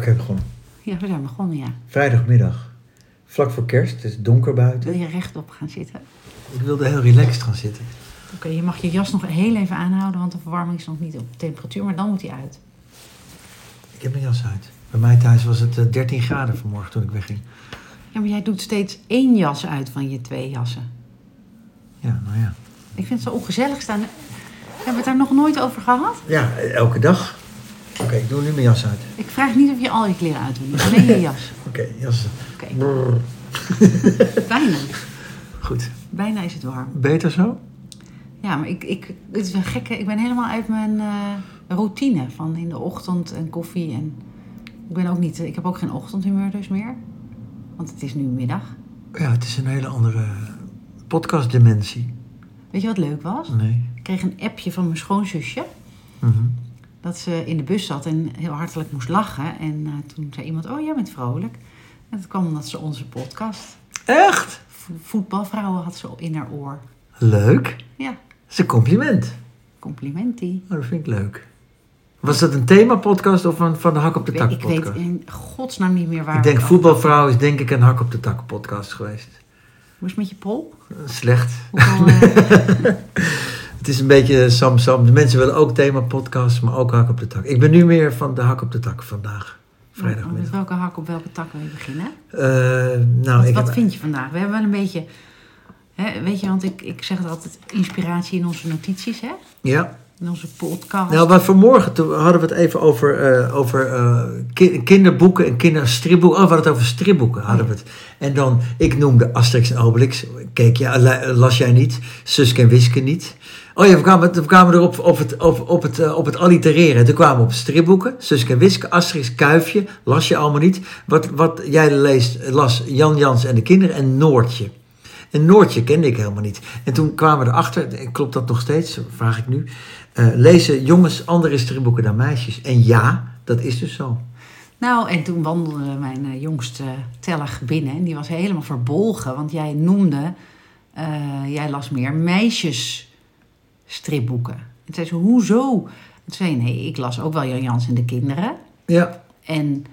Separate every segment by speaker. Speaker 1: Ik heb begonnen.
Speaker 2: Ja, we zijn begonnen, ja.
Speaker 1: Vrijdagmiddag. Vlak voor kerst. Het is donker buiten.
Speaker 2: Wil je rechtop gaan zitten?
Speaker 1: Ik wilde heel relaxed gaan zitten.
Speaker 2: Oké, je mag je jas nog heel even aanhouden, want de verwarming is nog niet op temperatuur, maar dan moet die uit.
Speaker 1: Ik heb mijn jas uit. Bij mij thuis was het eh, 13 graden vanmorgen toen ik wegging.
Speaker 2: Ja, maar jij doet steeds één jas uit van je twee jassen.
Speaker 1: Ja, nou ja.
Speaker 2: Ik vind het zo ongezellig staan. Hebben we het daar nog nooit over gehad?
Speaker 1: Ja, eh, elke dag. Oké, ik doe nu mijn jas uit.
Speaker 2: Ik vraag niet of je al je kleren uit doet, maar alleen je jas.
Speaker 1: Oké, jas.
Speaker 2: Oké,
Speaker 1: Brrr.
Speaker 2: bijna.
Speaker 1: Goed.
Speaker 2: Bijna is het warm.
Speaker 1: Beter zo?
Speaker 2: Ja, maar ik, ik, het is een gekke... Ik ben helemaal uit mijn eh, routine van in de ochtend en koffie en... Ik ben ook niet... Ik heb ook geen ochtendhumeur dus meer. Want het is nu middag.
Speaker 1: Ja, het is een hele andere podcastdimensie.
Speaker 2: Weet je wat leuk was?
Speaker 1: Nee.
Speaker 2: Ik kreeg een appje van mijn schoonzusje.
Speaker 1: Mhm.
Speaker 2: Dat ze in de bus zat en heel hartelijk moest lachen. En eh, toen zei iemand, oh jij bent vrolijk. En dat kwam omdat ze onze podcast...
Speaker 1: Echt?
Speaker 2: vo- Voetbalvrouwen had ze in haar oor.
Speaker 1: Leuk.
Speaker 2: Ja,
Speaker 1: Dat is een compliment.
Speaker 2: complimentie.
Speaker 1: Oh, dat vind ik leuk. Was dat een thema-podcast of een van de hak op de
Speaker 2: Ik weet,
Speaker 1: tak
Speaker 2: ik weet
Speaker 1: podcast?
Speaker 2: in godsnaam niet meer waar.
Speaker 1: Ik denk
Speaker 2: we-
Speaker 1: voetbalvrouw is denk ik een hak op de tak podcast geweest.
Speaker 2: Hoe is het met je pol?
Speaker 1: Slecht.
Speaker 2: Hoeveel, eh,
Speaker 1: Het is een beetje Sam Sam. De mensen willen ook thema podcasts, maar ook hak op de tak. Ik ben nu meer van de hak op de tak vandaag.
Speaker 2: met
Speaker 1: Vrijdagmiddag.
Speaker 2: welke hak op welke tak wil je beginnen?
Speaker 1: Eh, nou,
Speaker 2: Oh, Wat,
Speaker 1: ik
Speaker 2: wat
Speaker 1: heb-
Speaker 2: vind je vandaag? We hebben wel een beetje... Hè, weet je, want ik, ik zeg het altijd inspiratie in onze notities, hè?
Speaker 1: Ja.
Speaker 2: In onze podcast.
Speaker 1: Nou, maar vanmorgen toen hadden we het even over, eh, over eh, ki- kinderboeken en kinderstripboeken. Oh, we hadden het over stripboeken, hadden we het. En dan, ik noemde Asterix en Obelix. Keek je, la- las jij niet. Suske en Wiske niet. Oh ja, we kwamen, we kwamen erop op het, op, op het, eh, op het allitereren. Toen kwamen we op stripboeken. Suske en Wiske, Asterix, Kuifje. Las je allemaal niet. Wat, wat jij leest, las Jan Jans en de kinderen en Noortje. En Noortje kende ik helemaal niet. En toen kwamen we erachter, klopt dat nog steeds, vraag ik nu. eh, lezen jongens andere stripboeken dan meisjes? En ja, dat is dus zo.
Speaker 2: Nou, en toen wandelde mijn eh, jongste tellig binnen en die was helemaal verbolgen, want jij noemde, eh, jij las meer meisjesstripboeken. En toen zei ze, hoezo? En toen zei je, nee, ik las ook wel Jan Jans en de kinderen.
Speaker 1: Ja,
Speaker 2: En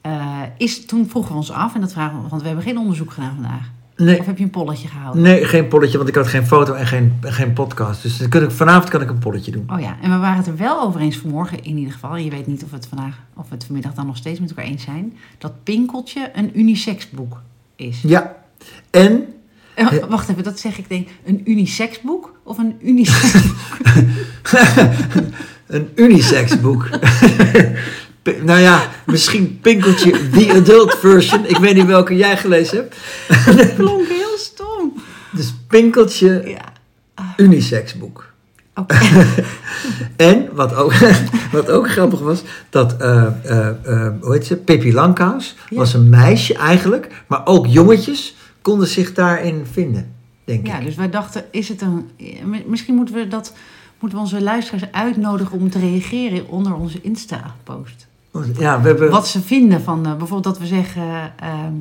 Speaker 2: eh, is, toen vroegen we ons af, en dat vragen we, want we hebben geen onderzoek gedaan vandaag.
Speaker 1: nee,
Speaker 2: Of heb je een polletje gehouden?
Speaker 1: nee, geen polletje, want ik had geen foto en geen, en geen podcast. Dus dan kun ik, vanavond kan ik een polletje doen.
Speaker 2: Oh ja, en we waren het er wel over eens vanmorgen in ieder geval. En je weet niet of we het vandaag of we het vanmiddag dan nog steeds met elkaar eens zijn. Dat Pinkeltje een unisexboek is.
Speaker 1: Ja, en
Speaker 2: Eh, wa- wacht even, dat zeg ik denk. Een unisexboek of een unisex?
Speaker 1: een unisexboek. P- nou ja, misschien Pinkeltje, the adult version. Ik weet niet welke jij gelezen hebt.
Speaker 2: Dat klonk heel stom.
Speaker 1: Dus Pinkeltje,
Speaker 2: Ja,
Speaker 1: unisexboek.
Speaker 2: oké.
Speaker 1: En wat ook, wat ook grappig was, dat, eh, eh, eh, hoe heet ze, Pippi Langkous
Speaker 2: Ja.
Speaker 1: was een meisje eigenlijk, maar ook jongetjes konden zich daarin vinden, denk
Speaker 2: Ja,
Speaker 1: ik.
Speaker 2: dus wij dachten, is het een. eh, mi- Misschien moeten we, dat, moeten we onze luisteraars uitnodigen om te reageren onder onze Insta-post.
Speaker 1: Ja, we hebben,
Speaker 2: Wat ze vinden van eh, bijvoorbeeld dat we zeggen. ehm,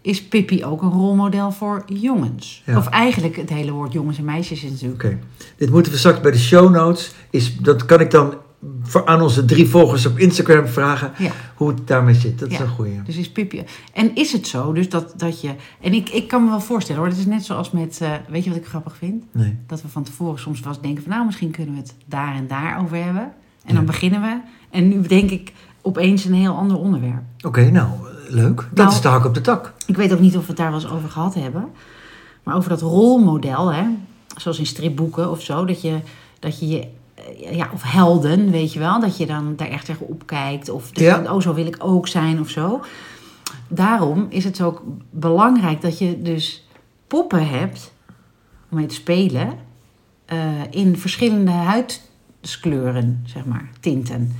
Speaker 2: is Pippi ook een rolmodel voor jongens?
Speaker 1: Ja.
Speaker 2: Of eigenlijk het hele woord jongens en meisjes is natuurlijk.
Speaker 1: Oké. dit moeten we straks bij de show notes, is, dat kan ik dan voor, aan onze drie volgers op Instagram vragen
Speaker 2: Ja.
Speaker 1: hoe het daarmee zit. Dat is
Speaker 2: Ja.
Speaker 1: een goeie.
Speaker 2: Dus is Pippi. En is het zo, dus dat, dat je. En ik, ik kan me wel voorstellen hoor, het is net zoals met. eh, weet je wat ik grappig vind?
Speaker 1: Nee.
Speaker 2: dat we van tevoren soms wel eens denken van nou, misschien kunnen we het daar en daar over hebben. En dan beginnen we. En nu bedenk ik opeens een heel ander onderwerp.
Speaker 1: Oké, nou, leuk. Dat
Speaker 2: Nou-
Speaker 1: is de hak op de tak.
Speaker 2: Ik weet ook niet of we het daar wel eens over gehad hebben. Maar over dat rolmodel, hè? zoals in stripboeken of zo, dat je dat je, je eh, ja, of helden, weet je wel, dat je dan daar echt tegen opkijkt. Of dat je
Speaker 1: Ja.
Speaker 2: denkt, oh, zo wil ik ook zijn of zo. Daarom is het ook belangrijk dat je dus poppen hebt om mee te spelen eh, in verschillende huidskleuren, zeg maar, tinten.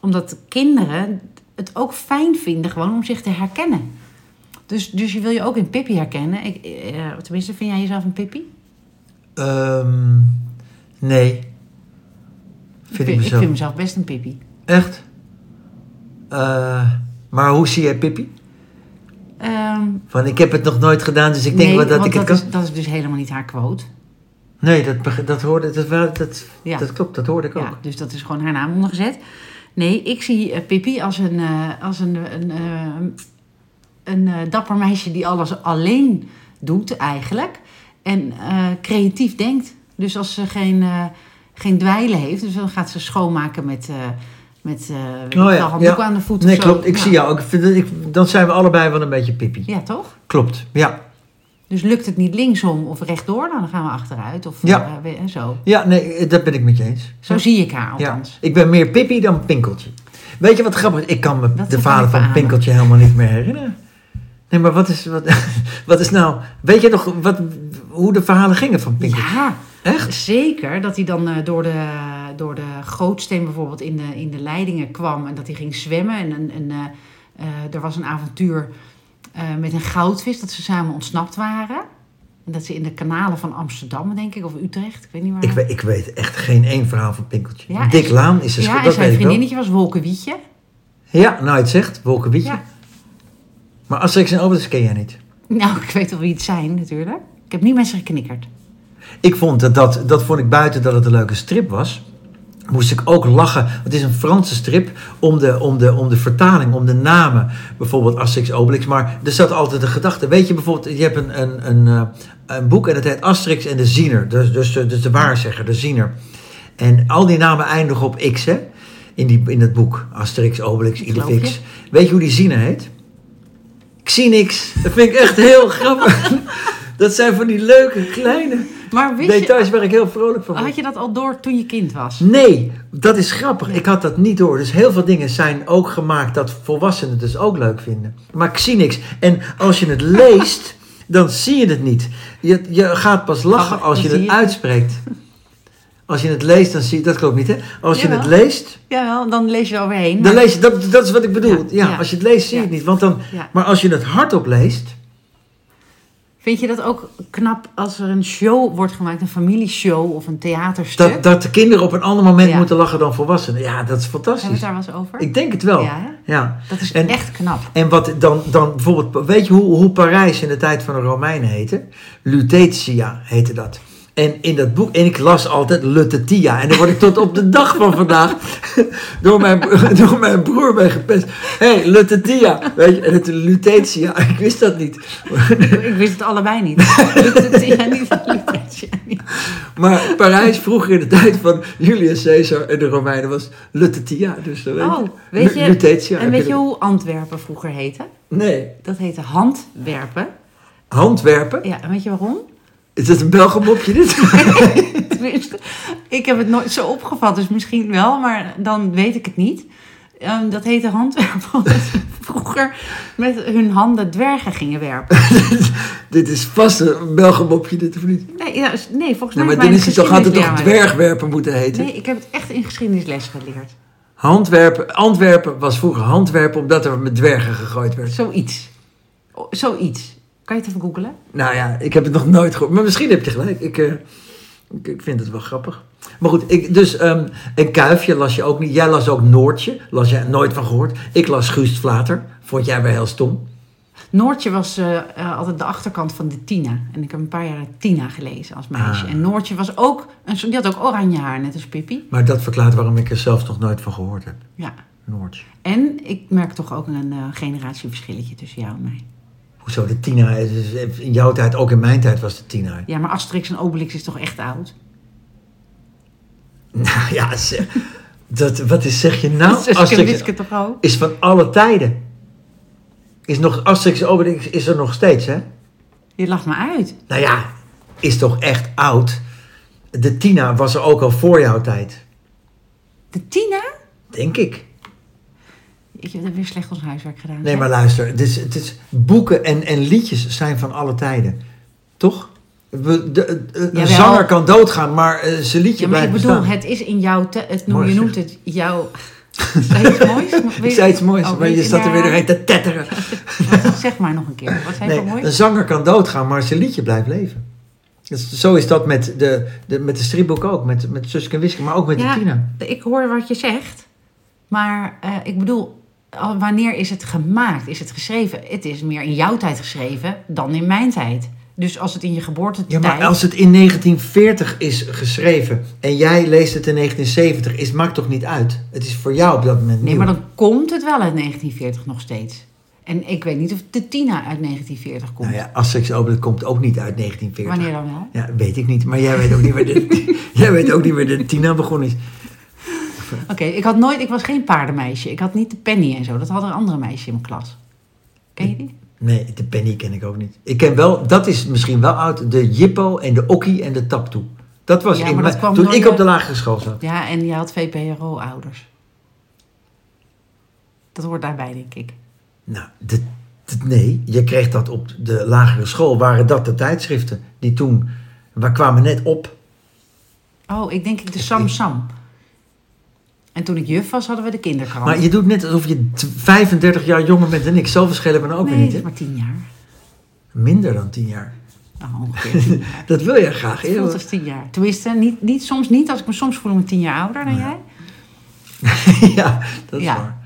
Speaker 2: Omdat kinderen het ook fijn vinden gewoon om zich te herkennen. Dus, dus je wil je ook in Pippi herkennen. Ik, eh, tenminste, vind jij jezelf een Pippi?
Speaker 1: Ehm, nee. Vind ik,
Speaker 2: vind-
Speaker 1: mezelf.
Speaker 2: ik vind mezelf best een Pippi.
Speaker 1: Echt? Eh, maar hoe zie jij Pippi?
Speaker 2: Ehm,
Speaker 1: Van ik heb het nog nooit gedaan, dus ik denk
Speaker 2: nee,
Speaker 1: wel dat
Speaker 2: want
Speaker 1: ik het
Speaker 2: dat
Speaker 1: kan.
Speaker 2: is, dat is dus helemaal niet haar quote.
Speaker 1: Nee, dat, beg- dat hoorde dat, wel- dat,
Speaker 2: Ja.
Speaker 1: dat klopt, dat hoorde ik ook.
Speaker 2: Ja, dus dat is gewoon haar naam ondergezet. Nee, ik zie eh, Pippi als een, eh, als een, een, eh, een eh, dapper meisje die alles alleen doet eigenlijk. En eh, creatief denkt. Dus als ze geen, eh geen dweilen heeft, dus dan gaat ze schoonmaken met, eh met eh weet ik
Speaker 1: Oh ja,
Speaker 2: wel, handdoek
Speaker 1: ja.
Speaker 2: aan de voeten.
Speaker 1: Nee,
Speaker 2: of zo.
Speaker 1: klopt. Ik
Speaker 2: Ja.
Speaker 1: zie jou ook. Ik vind dat- ik- Dan zijn we allebei wel een beetje pippie.
Speaker 2: Ja, toch?
Speaker 1: Klopt. Ja.
Speaker 2: Dus lukt het niet linksom of rechtdoor, dan gaan we achteruit. Of
Speaker 1: Ja.
Speaker 2: eh, we- en zo.
Speaker 1: Ja, nee, dat ben ik met je eens.
Speaker 2: Zo zie ik haar
Speaker 1: Ja.
Speaker 2: althans.
Speaker 1: Ik ben meer pippie dan pinkeltje. Weet je wat grappig is? Ik kan me
Speaker 2: Dat
Speaker 1: de
Speaker 2: kan
Speaker 1: vader
Speaker 2: ik
Speaker 1: van
Speaker 2: beamen.
Speaker 1: pinkeltje helemaal niet meer herinneren. Nee, maar wat is, wat, wat is nou... Weet je nog wat, hoe de verhalen gingen van pinkeltje?
Speaker 2: ja.
Speaker 1: Echt?
Speaker 2: Zeker, dat hij dan eh, door, de, door de gootsteen bijvoorbeeld in de, in de leidingen kwam en dat hij ging zwemmen. En, en, en, eh, eh, er was een avontuur eh, met een goudvis dat ze samen ontsnapt waren. En dat ze in de kanalen van Amsterdam, denk ik, of Utrecht, ik weet niet waar.
Speaker 1: Ik, we- ik weet echt geen één verhaal van pinkeltje.
Speaker 2: Ja, en
Speaker 1: Dick
Speaker 2: ze-
Speaker 1: Laan is een
Speaker 2: ja,
Speaker 1: schip,
Speaker 2: en
Speaker 1: dat
Speaker 2: zijn
Speaker 1: weet ik wel.
Speaker 2: vriendinnetje was Wolkenwietje.
Speaker 1: Ja, nou je het zegt, Wolkenwietje.
Speaker 2: Ja.
Speaker 1: Maar Asterix en Obelix ken jij niet.
Speaker 2: Nou, ik weet wel wie het zijn natuurlijk. Ik heb niet met ze geknikkerd.
Speaker 1: Ik vond dat, dat, dat vond ik buiten dat het een leuke strip was. Moest ik ook lachen. Het is een Franse strip om de, om de, om de vertaling, om de namen. Bijvoorbeeld Asterix Obelix. Maar er zat altijd een gedachte. Weet je bijvoorbeeld, je hebt een, een, een, eh, een boek en het heet Asterix en de Ziener. Dus, dus, de- dus de waarzegger, de Ziener. En al die namen eindigen op X, hè? In, die, in dat boek. Asterix, Obelix,
Speaker 2: Ik geloof
Speaker 1: Idefix. Weet je hoe die Ziener heet? Xenix. Dat vind ik echt heel grappig. Dat zijn van die leuke, kleine
Speaker 2: Maar wist je, Ah,
Speaker 1: details waar ik heel vrolijk van word.
Speaker 2: Oh, had je dat al door toen je kind was?
Speaker 1: Nee, dat is grappig. Ik had dat niet door. Dus heel veel dingen zijn ook gemaakt dat volwassenen het dus ook leuk vinden. Maar ik zie niks. En als je het leest, dan zie je het niet. Je, je gaat pas lachen
Speaker 2: Oh,
Speaker 1: als
Speaker 2: dan
Speaker 1: je
Speaker 2: zie
Speaker 1: het
Speaker 2: je het.
Speaker 1: uitspreekt. Als je het leest, dan zie je... Dat klopt niet, hè? Als je het
Speaker 2: Jawel.
Speaker 1: leest,
Speaker 2: Jawel, dan lees je er overheen.
Speaker 1: dan lees je... Dat, dat is wat ik bedoel. Ja,
Speaker 2: Ja, ja.
Speaker 1: als je het leest, zie je
Speaker 2: Ja.
Speaker 1: het niet. Want dan,
Speaker 2: Ja.
Speaker 1: Maar als je het hardop leest...
Speaker 2: Vind je dat ook knap als er een show wordt gemaakt, een familieshow of een theaterstuk?
Speaker 1: Dat, dat de kinderen op een ander moment
Speaker 2: Ja.
Speaker 1: moeten lachen dan volwassenen. Ja, dat is
Speaker 2: Hebben
Speaker 1: fantastisch.
Speaker 2: we het daar wel eens over?
Speaker 1: Ik denk het wel.
Speaker 2: Ja, hè?
Speaker 1: ja.
Speaker 2: dat is
Speaker 1: en-
Speaker 2: echt knap.
Speaker 1: En wat dan, dan bijvoorbeeld, weet je hoe, hoe Parijs in de tijd van de Romeinen heette? Lutetia heette dat. En in dat boek, en ik las altijd Lutetia. En daar word ik tot op de dag van vandaag door mijn, door mijn broer mee gepest. Hé, hey, Lutetia. Weet je, en het Lutetia. Ik wist dat niet.
Speaker 2: Ik wist het allebei niet. Lukt het ja niet? Lukt het ja niet?
Speaker 1: Maar Parijs vroeger in de tijd van Julius Caesar en de Romeinen was Lutetia. Dus dan weet je.
Speaker 2: Oh, weet je,
Speaker 1: Lu- Lutetia.
Speaker 2: en weet je hoe Antwerpen vroeger heette?
Speaker 1: Nee.
Speaker 2: Dat heette Handwerpen.
Speaker 1: Handwerpen?
Speaker 2: Ja, en weet je waarom?
Speaker 1: Is dit een Belgenmopje dit?
Speaker 2: Tenminste, ik heb het nooit zo opgevat, dus misschien wel, maar dan weet ik het niet. Ehm, dat heette handwerpen, omdat ze vroeger met hun handen dwergen gingen werpen.
Speaker 1: Dit is vast een Belgenmopje, dit of niet?
Speaker 2: Nee, ja, s- nee volgens
Speaker 1: Nee,
Speaker 2: mij
Speaker 1: maar dan
Speaker 2: is mijn
Speaker 1: is het toch, had het toch
Speaker 2: geschiedenisleermeester-
Speaker 1: dwergwerpen moeten heten?
Speaker 2: Nee, ik heb het echt in geschiedenisles geleerd.
Speaker 1: Handwerpen, Antwerpen was vroeger Handwerpen omdat er met dwergen gegooid werd.
Speaker 2: Zoiets. O, Zoiets. Kan je het even googelen?
Speaker 1: Nou ja, ik heb het nog nooit gehoord. Maar misschien heb je gelijk. Ik, eh, ik, ik vind het wel grappig. Maar goed, ik, dus ehm, een kuifje las je ook niet. Jij las ook Noortje. Las jij nooit van gehoord. Ik las Guust Vlater. Vond jij weer heel stom.
Speaker 2: Noortje was eh, eh, altijd de achterkant van de Tina. En ik heb een paar jaar Tina gelezen als meisje.
Speaker 1: Ah.
Speaker 2: En Noortje was ook... Een, soort- die had ook oranje haar, net als Pippi.
Speaker 1: Maar dat verklaart waarom ik er zelf nog nooit van gehoord heb.
Speaker 2: Ja.
Speaker 1: Noortje.
Speaker 2: En ik merk toch ook een eh, generatieverschilletje tussen jou en mij.
Speaker 1: Hoezo, de Tina is is in jouw tijd, ook in mijn tijd was de Tina.
Speaker 2: Ja, maar Asterix en Obelix is toch echt oud?
Speaker 1: Nou ja, zeg, dat, wat is, zeg je nou?
Speaker 2: Nou,
Speaker 1: Asterix-
Speaker 2: Asterix... en toch ook?
Speaker 1: is van alle tijden. Is nog, Asterix en Obelix is er nog steeds, hè?
Speaker 2: Je lacht me uit.
Speaker 1: Nou ja, is toch echt oud. De Tina was er ook al voor jouw tijd.
Speaker 2: De Tina?
Speaker 1: Denk ik.
Speaker 2: Ik heb weer slecht ons huiswerk gedaan.
Speaker 1: Nee,
Speaker 2: zeg.
Speaker 1: maar luister. Het is, het is, boeken en, en liedjes zijn van alle tijden. Toch? We- de- eh, een
Speaker 2: Jawel.
Speaker 1: zanger kan doodgaan, maar eh, zijn liedje
Speaker 2: Ja, maar
Speaker 1: blijft
Speaker 2: ik bedoel,
Speaker 1: bestaan.
Speaker 2: het is in jouw... te- het noem,
Speaker 1: Mooi
Speaker 2: je
Speaker 1: zeg.
Speaker 2: noemt het jouw... Zei je iets moois? Wil
Speaker 1: Ik zei iets moois,
Speaker 2: oh,
Speaker 1: maar
Speaker 2: wil
Speaker 1: je zat er weer
Speaker 2: ja,
Speaker 1: doorheen te tetteren.
Speaker 2: Oh, Zeg maar nog een keer. Wat zei je
Speaker 1: Nee,
Speaker 2: voor
Speaker 1: een
Speaker 2: moois?
Speaker 1: zanger kan doodgaan, maar zijn liedje blijft leven. Dus zo is dat met de, de, met de stripboek ook, met, met Suske en Wiske, maar ook met
Speaker 2: Ja.
Speaker 1: de Tina.
Speaker 2: Ik hoor wat je zegt. Maar eh, ik bedoel, al- wanneer is het gemaakt? Is het geschreven? Het is meer in jouw tijd geschreven dan in mijn tijd. Dus als het in je
Speaker 1: Ja,
Speaker 2: geboortetijd...
Speaker 1: maar als het in 1940 is geschreven en jij leest het in 1970, is, maakt toch niet uit? Het is voor jou op dat moment
Speaker 2: Nee,
Speaker 1: nieuw.
Speaker 2: maar dan komt het wel uit 1940 nog steeds. En ik weet niet of de Tina uit 1940 komt.
Speaker 1: Nou ja, Asterix Obelix komt ook niet uit 1940.
Speaker 2: Wanneer dan wel?
Speaker 1: Ja, weet ik niet. Maar jij weet ook niet waar de, jij weet ook niet waar de Tina begonnen is.
Speaker 2: Oké, ik had nooit... Ik was geen paardenmeisje. Ik had niet de Penny en zo. Dat hadden andere meisjes in mijn klas. Ken je die?
Speaker 1: Nee, de Penny ken ik ook niet. Ik ken wel, dat is misschien wel oud, de Jippo en de Okkie en de Taptoe. Dat was
Speaker 2: Ja,
Speaker 1: in
Speaker 2: maar
Speaker 1: mijn-
Speaker 2: dat kwam
Speaker 1: toen
Speaker 2: door
Speaker 1: ik
Speaker 2: de-
Speaker 1: op de lagere school zat.
Speaker 2: Ja, en je had VPRO-ouders. Dat hoort daarbij, denk ik.
Speaker 1: Nou, de, de- nee, je kreeg dat op de lagere school. Waren dat de tijdschriften die toen, we kwamen net op.
Speaker 2: Oh, ik denk de Sam Sam. En toen ik juf was, hadden we de kinderkrant.
Speaker 1: Maar je doet net alsof je t- 35 jaar jonger bent dan ik. Zo verschillen we nou ook
Speaker 2: nee,
Speaker 1: weer niet,
Speaker 2: dat
Speaker 1: hè?
Speaker 2: is maar tien jaar.
Speaker 1: Minder dan 10 jaar. Oh,
Speaker 2: Nou, ongeveer tien jaar.
Speaker 1: Dat wil jij graag.
Speaker 2: Het voelt als tien jaar. Tenminste, niet, niet, soms niet. Als ik me soms voel ik me tien jaar ouder dan
Speaker 1: Nou
Speaker 2: jij.
Speaker 1: ja, dat is
Speaker 2: Ja.
Speaker 1: waar.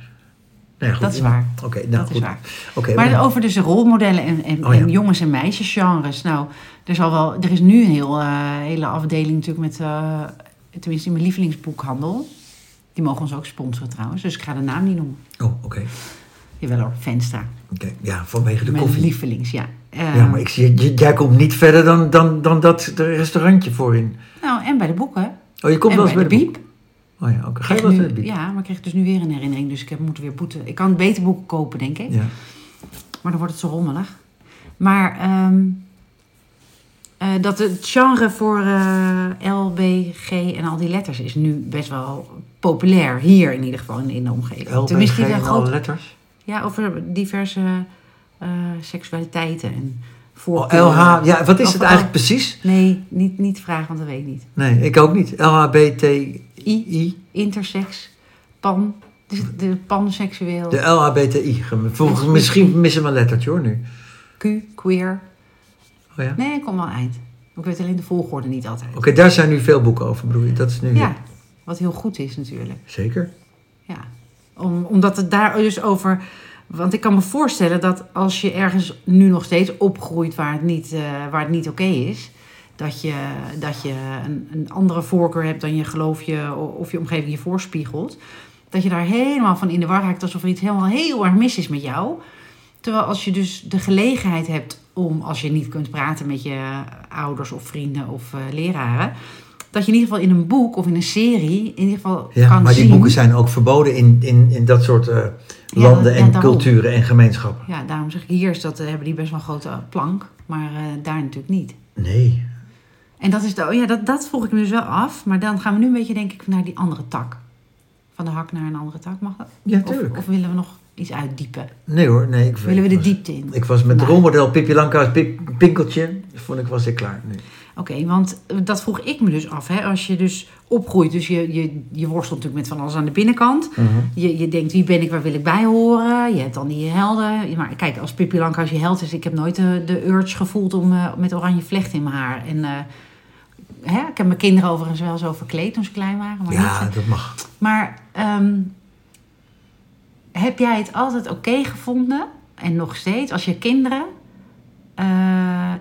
Speaker 1: Nou ja, goed.
Speaker 2: Dat is waar.
Speaker 1: Oké, nou
Speaker 2: dat
Speaker 1: goed.
Speaker 2: is waar.
Speaker 1: Oké,
Speaker 2: Maar
Speaker 1: nou,
Speaker 2: over dus de rolmodellen en, en,
Speaker 1: Oh, ja.
Speaker 2: en jongens- en meisjesgenres. Nou, er is, al wel, er is nu een heel, eh, hele afdeling natuurlijk met... eh, tenminste, in mijn lievelingsboekhandel. Die mogen ons ook sponsoren trouwens. Dus ik ga de naam niet noemen.
Speaker 1: Oh, oké. oké.
Speaker 2: Jawel hoor, Venstra.
Speaker 1: Ja, vanwege de
Speaker 2: mijn
Speaker 1: koffie.
Speaker 2: lievelings, ja. Eh,
Speaker 1: Ja, maar ik zie, j- jij komt niet verder dan, dan, dan dat restaurantje voorin.
Speaker 2: Nou, en bij de boeken.
Speaker 1: Oh, je komt
Speaker 2: en
Speaker 1: wel eens bij de
Speaker 2: biep.
Speaker 1: boek. Oh ja, oké. Ga je
Speaker 2: Kreeg
Speaker 1: wel eens
Speaker 2: nu-
Speaker 1: bij de biep?
Speaker 2: Ja, maar ik kreeg dus nu weer een herinnering. Dus ik heb moeten weer boeten. Ik kan beter boeken kopen, denk ik.
Speaker 1: Ja.
Speaker 2: Maar dan wordt het zo rommelig. Maar ehm, eh, dat het genre voor eh, L, B, G en al die letters is nu best wel populair. Hier in ieder geval, in, in de omgeving.
Speaker 1: LBG
Speaker 2: Tenminste, die
Speaker 1: en
Speaker 2: zijn
Speaker 1: alle
Speaker 2: groot.
Speaker 1: letters.
Speaker 2: Ja, over diverse eh, seksualiteiten en
Speaker 1: Oh,
Speaker 2: voorkeuren.
Speaker 1: LH. Ja, wat is
Speaker 2: Of
Speaker 1: het
Speaker 2: L-
Speaker 1: eigenlijk precies?
Speaker 2: Nee, niet, niet vragen, want dat weet ik niet.
Speaker 1: Nee, ik ook niet.
Speaker 2: I,
Speaker 1: LHBTI.
Speaker 2: intersex, pan, dus de panseksueel,
Speaker 1: De LHBTI. Volgens,
Speaker 2: Ja.
Speaker 1: misschien missen we een lettertje hoor nu.
Speaker 2: Q, queer.
Speaker 1: Oh, ja? Oké,
Speaker 2: Nee, ik kom wel eind. Ik weet alleen de volgorde niet altijd.
Speaker 1: daar zijn nu veel boeken over, bedoel je? Dat is nu...
Speaker 2: Ja, wat heel goed is natuurlijk.
Speaker 1: Zeker.
Speaker 2: Ja. Om, omdat het daar dus over... Want ik kan me voorstellen dat als je ergens nu nog steeds opgroeit waar het niet, eh, waar het niet oké is... Dat je, dat je een, een andere voorkeur hebt dan je geloof je o- of je omgeving je voorspiegelt. Dat je daar helemaal van in de war raakt alsof er iets helemaal heel erg mis is met jou. Terwijl als je dus de gelegenheid hebt om, als je niet kunt praten met je ouders of vrienden of eh, leraren... Dat je in ieder geval in een boek of in een serie in ieder geval
Speaker 1: Ja,
Speaker 2: kan
Speaker 1: maar
Speaker 2: zien...
Speaker 1: die boeken zijn ook verboden in, in, in dat soort eh, landen
Speaker 2: ja,
Speaker 1: en
Speaker 2: daarom.
Speaker 1: culturen en gemeenschappen.
Speaker 2: Ja, daarom zeg ik hier is dat eh, hebben die best wel een grote plank, maar eh, daar natuurlijk niet.
Speaker 1: Nee.
Speaker 2: En dat is de, oh ja, dat, dat vroeg ik me dus wel af, maar dan gaan we nu een beetje denk ik naar die andere tak. Van de hak naar een andere tak, mag dat?
Speaker 1: Ja,
Speaker 2: Of,
Speaker 1: tuurlijk.
Speaker 2: of willen we nog iets uitdiepen?
Speaker 1: Nee hoor, nee. Ik,
Speaker 2: Willen we de
Speaker 1: ik was-
Speaker 2: diepte in?
Speaker 1: Ik was met het
Speaker 2: Nou.
Speaker 1: rolmodel Pippi Langkous Pip- Pinkeltje, vond ik, was ik klaar. Nee.
Speaker 2: Oké, want eh, dat vroeg ik me dus af. Hè? Als je dus opgroeit, dus je, je, je worstelt natuurlijk met van alles aan de binnenkant. Je, je denkt, wie ben ik, waar wil ik bij horen? Je hebt dan die helden. Je- Maar kijk, als Pippi Langkous je held is... Ik heb nooit de, de urge gevoeld om eh, met oranje vlecht in mijn haar. En, eh, hè? Ik heb mijn kinderen overigens wel zo verkleed toen ze klein waren. Maar,
Speaker 1: Ja,
Speaker 2: niet-
Speaker 1: dat mag.
Speaker 2: maar ehm, heb jij het altijd oké gevonden? En nog steeds, als je kinderen eh,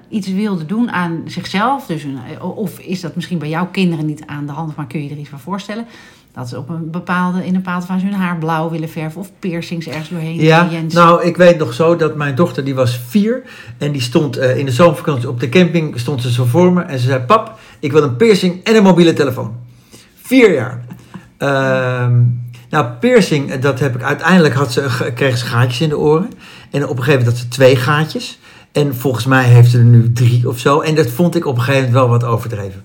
Speaker 2: iets wilden doen aan zichzelf... Dus een- of is dat misschien bij jouw kinderen niet aan de hand... maar kun je je er iets van voorstellen... Dat ze op een bepaalde, in een bepaalde fase hun haar blauw willen verven of piercings ergens doorheen.
Speaker 1: Ja,
Speaker 2: Jens.
Speaker 1: nou, ik weet nog zo dat mijn dochter, die was vier. En die stond eh, in de zomervakantie op de camping, stond ze zo voor me. En ze zei, pap, ik wil een piercing en een mobiele telefoon. Vier jaar. Ehm, nou, piercing, eh, dat heb ik uiteindelijk, had ze, ge- kreeg ze gaatjes in de oren. En op een gegeven moment had ze twee gaatjes. En volgens mij heeft ze er nu drie of zo. En dat vond ik op een gegeven moment wel wat overdreven.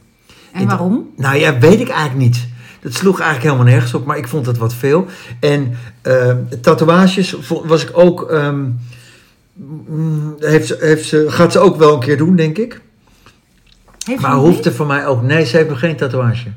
Speaker 2: en waarom?
Speaker 1: Nou ja, weet ik eigenlijk niet. Dat sloeg eigenlijk helemaal nergens op, maar ik vond het wat veel. En ehm, tatoeages vo- was ik ook. ehm, mm, heeft ze, heeft ze, gaat ze ook wel een keer doen, denk ik.
Speaker 2: Heeft
Speaker 1: Maar
Speaker 2: ze
Speaker 1: hoeft
Speaker 2: niet?
Speaker 1: er voor mij ook. Nee, ze heeft nog geen tatoeage.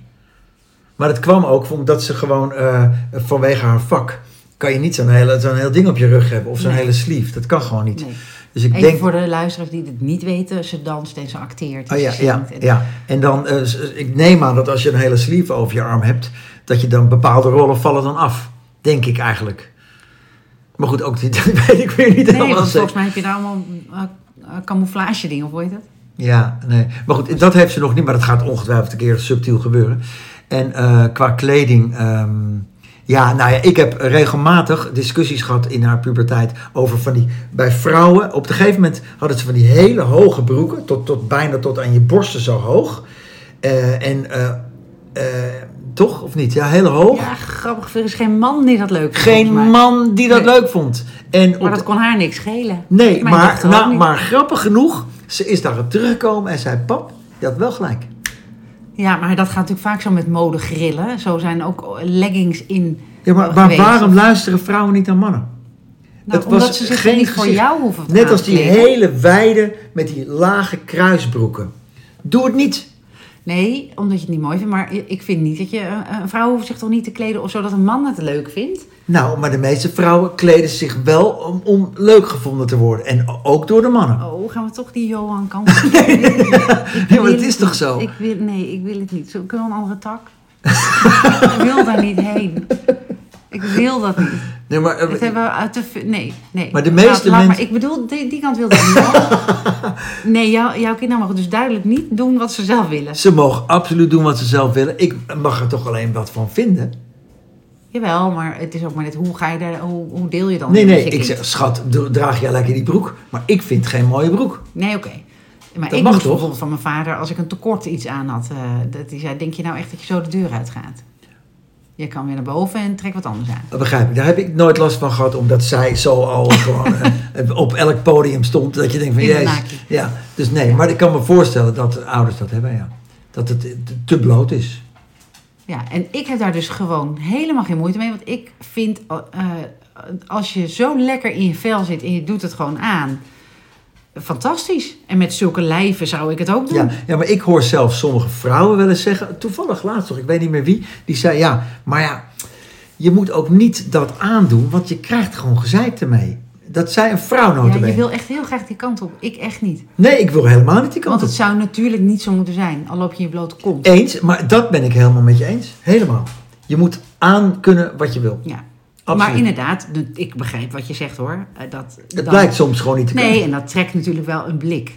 Speaker 1: Maar dat kwam ook omdat ze gewoon eh, vanwege haar vak. kan je niet zo'n, hele, zo'n heel ding op je rug hebben of zo'n
Speaker 2: Nee.
Speaker 1: hele sleeve. Dat kan gewoon niet.
Speaker 2: Nee.
Speaker 1: Dus ik
Speaker 2: Even
Speaker 1: denk.
Speaker 2: voor de luisteraars die het niet weten. Ze danst en ze acteert en
Speaker 1: Oh ja,
Speaker 2: ze
Speaker 1: ja,
Speaker 2: zingt. en-
Speaker 1: ja. En dan, eh, s- s- ik neem aan dat als je een hele sleeve over je arm hebt, dat je dan bepaalde rollen vallen dan af. Denk ik eigenlijk. Maar goed, ook die, dat weet ik weer niet
Speaker 2: Nee,
Speaker 1: helemaal
Speaker 2: want
Speaker 1: zeker.
Speaker 2: volgens mij heb je daar allemaal eh, eh, camouflage dingen, of hoe heet dat?
Speaker 1: Ja, nee. Maar goed, dat heeft ze nog niet, maar dat gaat ongetwijfeld een keer subtiel gebeuren. En eh, qua kleding, ehm, ja, nou ja, ik heb regelmatig discussies gehad in haar puberteit over van die, bij vrouwen, op een gegeven moment hadden ze van die hele hoge broeken, tot, tot bijna tot aan je borsten zo hoog. Eh, en, eh, eh, toch, of niet? Ja, heel hoog.
Speaker 2: Ja, grappig. Er is geen man die dat leuk vindt.
Speaker 1: Geen
Speaker 2: volgens mij.
Speaker 1: man die dat
Speaker 2: Nee.
Speaker 1: leuk vond. En op
Speaker 2: Maar dat kon haar niks schelen.
Speaker 1: Nee,
Speaker 2: Mijn
Speaker 1: maar,
Speaker 2: dochter ook
Speaker 1: nou,
Speaker 2: niet.
Speaker 1: maar grappig genoeg, ze is daarop teruggekomen en zei: Pap, je had wel gelijk.
Speaker 2: Ja, maar dat gaat natuurlijk vaak zo met mode grillen. Zo zijn ook leggings in.
Speaker 1: Ja, maar,
Speaker 2: eh,
Speaker 1: maar
Speaker 2: geweest.
Speaker 1: waarom luisteren vrouwen niet naar mannen?
Speaker 2: Nou,
Speaker 1: het
Speaker 2: omdat
Speaker 1: was
Speaker 2: ze zich
Speaker 1: geen
Speaker 2: niet voor
Speaker 1: gezicht.
Speaker 2: jou hoeven te
Speaker 1: Net als die
Speaker 2: aankleden.
Speaker 1: hele wijde met die lage kruisbroeken. Doe het niet.
Speaker 2: Nee, omdat je het niet mooi vindt. Maar ik vind niet dat je. eh, Een vrouw hoeft zich toch niet te kleden of zo dat een man het leuk vindt.
Speaker 1: Nou, maar de meeste vrouwen kleden zich wel om, om leuk gevonden te worden. En o- ook door de mannen.
Speaker 2: Oh, gaan we toch die Johan kant op?
Speaker 1: Nee, maar
Speaker 2: wil
Speaker 1: het is toch
Speaker 2: niet.
Speaker 1: zo?
Speaker 2: Ik wil, nee, ik wil het niet. Zo, kunnen we een andere tak? ik wil daar niet heen. Ik wil dat niet.
Speaker 1: Nee, maar, eh,
Speaker 2: Het hebben we uit de... v- Nee, nee.
Speaker 1: Maar de meeste
Speaker 2: Laat- laat
Speaker 1: mensen-
Speaker 2: Maar, ik bedoel, die, die kant wilde ik niet. nee, jou, jouw kinderen mogen dus duidelijk niet doen wat ze zelf willen.
Speaker 1: ze mogen absoluut doen wat ze zelf willen. Ik mag er toch alleen wat van vinden.
Speaker 2: Jawel, maar het is ook maar net... Hoe ga je daar... Hoe, hoe deel je dan
Speaker 1: Nee,
Speaker 2: met
Speaker 1: nee,
Speaker 2: je
Speaker 1: ik
Speaker 2: kind?
Speaker 1: zeg, schat, dra- draag jij lekker die broek. Maar ik vind geen mooie broek.
Speaker 2: Nee, oké. Maar
Speaker 1: Dat
Speaker 2: ik
Speaker 1: mag
Speaker 2: moest
Speaker 1: toch?
Speaker 2: bijvoorbeeld van mijn vader, als ik een tekort iets aan had, eh, dat hij zei, denk je nou echt dat je zo de deur uitgaat? Je kan weer naar boven en trek wat anders aan.
Speaker 1: Dat begrijp ik. Daar heb ik nooit last van gehad, omdat zij zo al gewoon eh, op elk podium stond. Dat je denkt van,
Speaker 2: In een
Speaker 1: jezus.
Speaker 2: naakje.
Speaker 1: Ja, dus nee. Maar ik kan me voorstellen dat ouders dat hebben, ja. Dat het eh, te bloot is.
Speaker 2: Ja, en ik heb daar dus gewoon helemaal geen moeite mee. Want ik vind, eh, als je zo lekker in je vel zit en je doet het gewoon aan, fantastisch. En met zulke lijven zou ik het ook doen.
Speaker 1: Ja, ja, maar ik hoor zelfs sommige vrouwen wel eens zeggen, toevallig laatst toch, ik weet niet meer wie, die zei, ja, maar ja, je moet ook niet dat aandoen, want je krijgt gewoon gezeik ermee. Dat zei een vrouw
Speaker 2: Ja,
Speaker 1: notabene.
Speaker 2: je wil echt heel graag die kant op. Ik echt niet.
Speaker 1: Nee, ik wil helemaal niet die kant
Speaker 2: Want
Speaker 1: op.
Speaker 2: het zou natuurlijk niet zo moeten zijn, al loop je in je blote kont.
Speaker 1: Eens, maar dat ben ik helemaal met je eens. Helemaal. Je moet aan kunnen wat je wil.
Speaker 2: Ja.
Speaker 1: Eh, Absoluut.
Speaker 2: Maar inderdaad, de- ik begrijp wat je zegt hoor. Eh, Dat,
Speaker 1: Het blijkt soms gewoon niet te kunnen.
Speaker 2: Nee, en dat trekt natuurlijk wel een blik.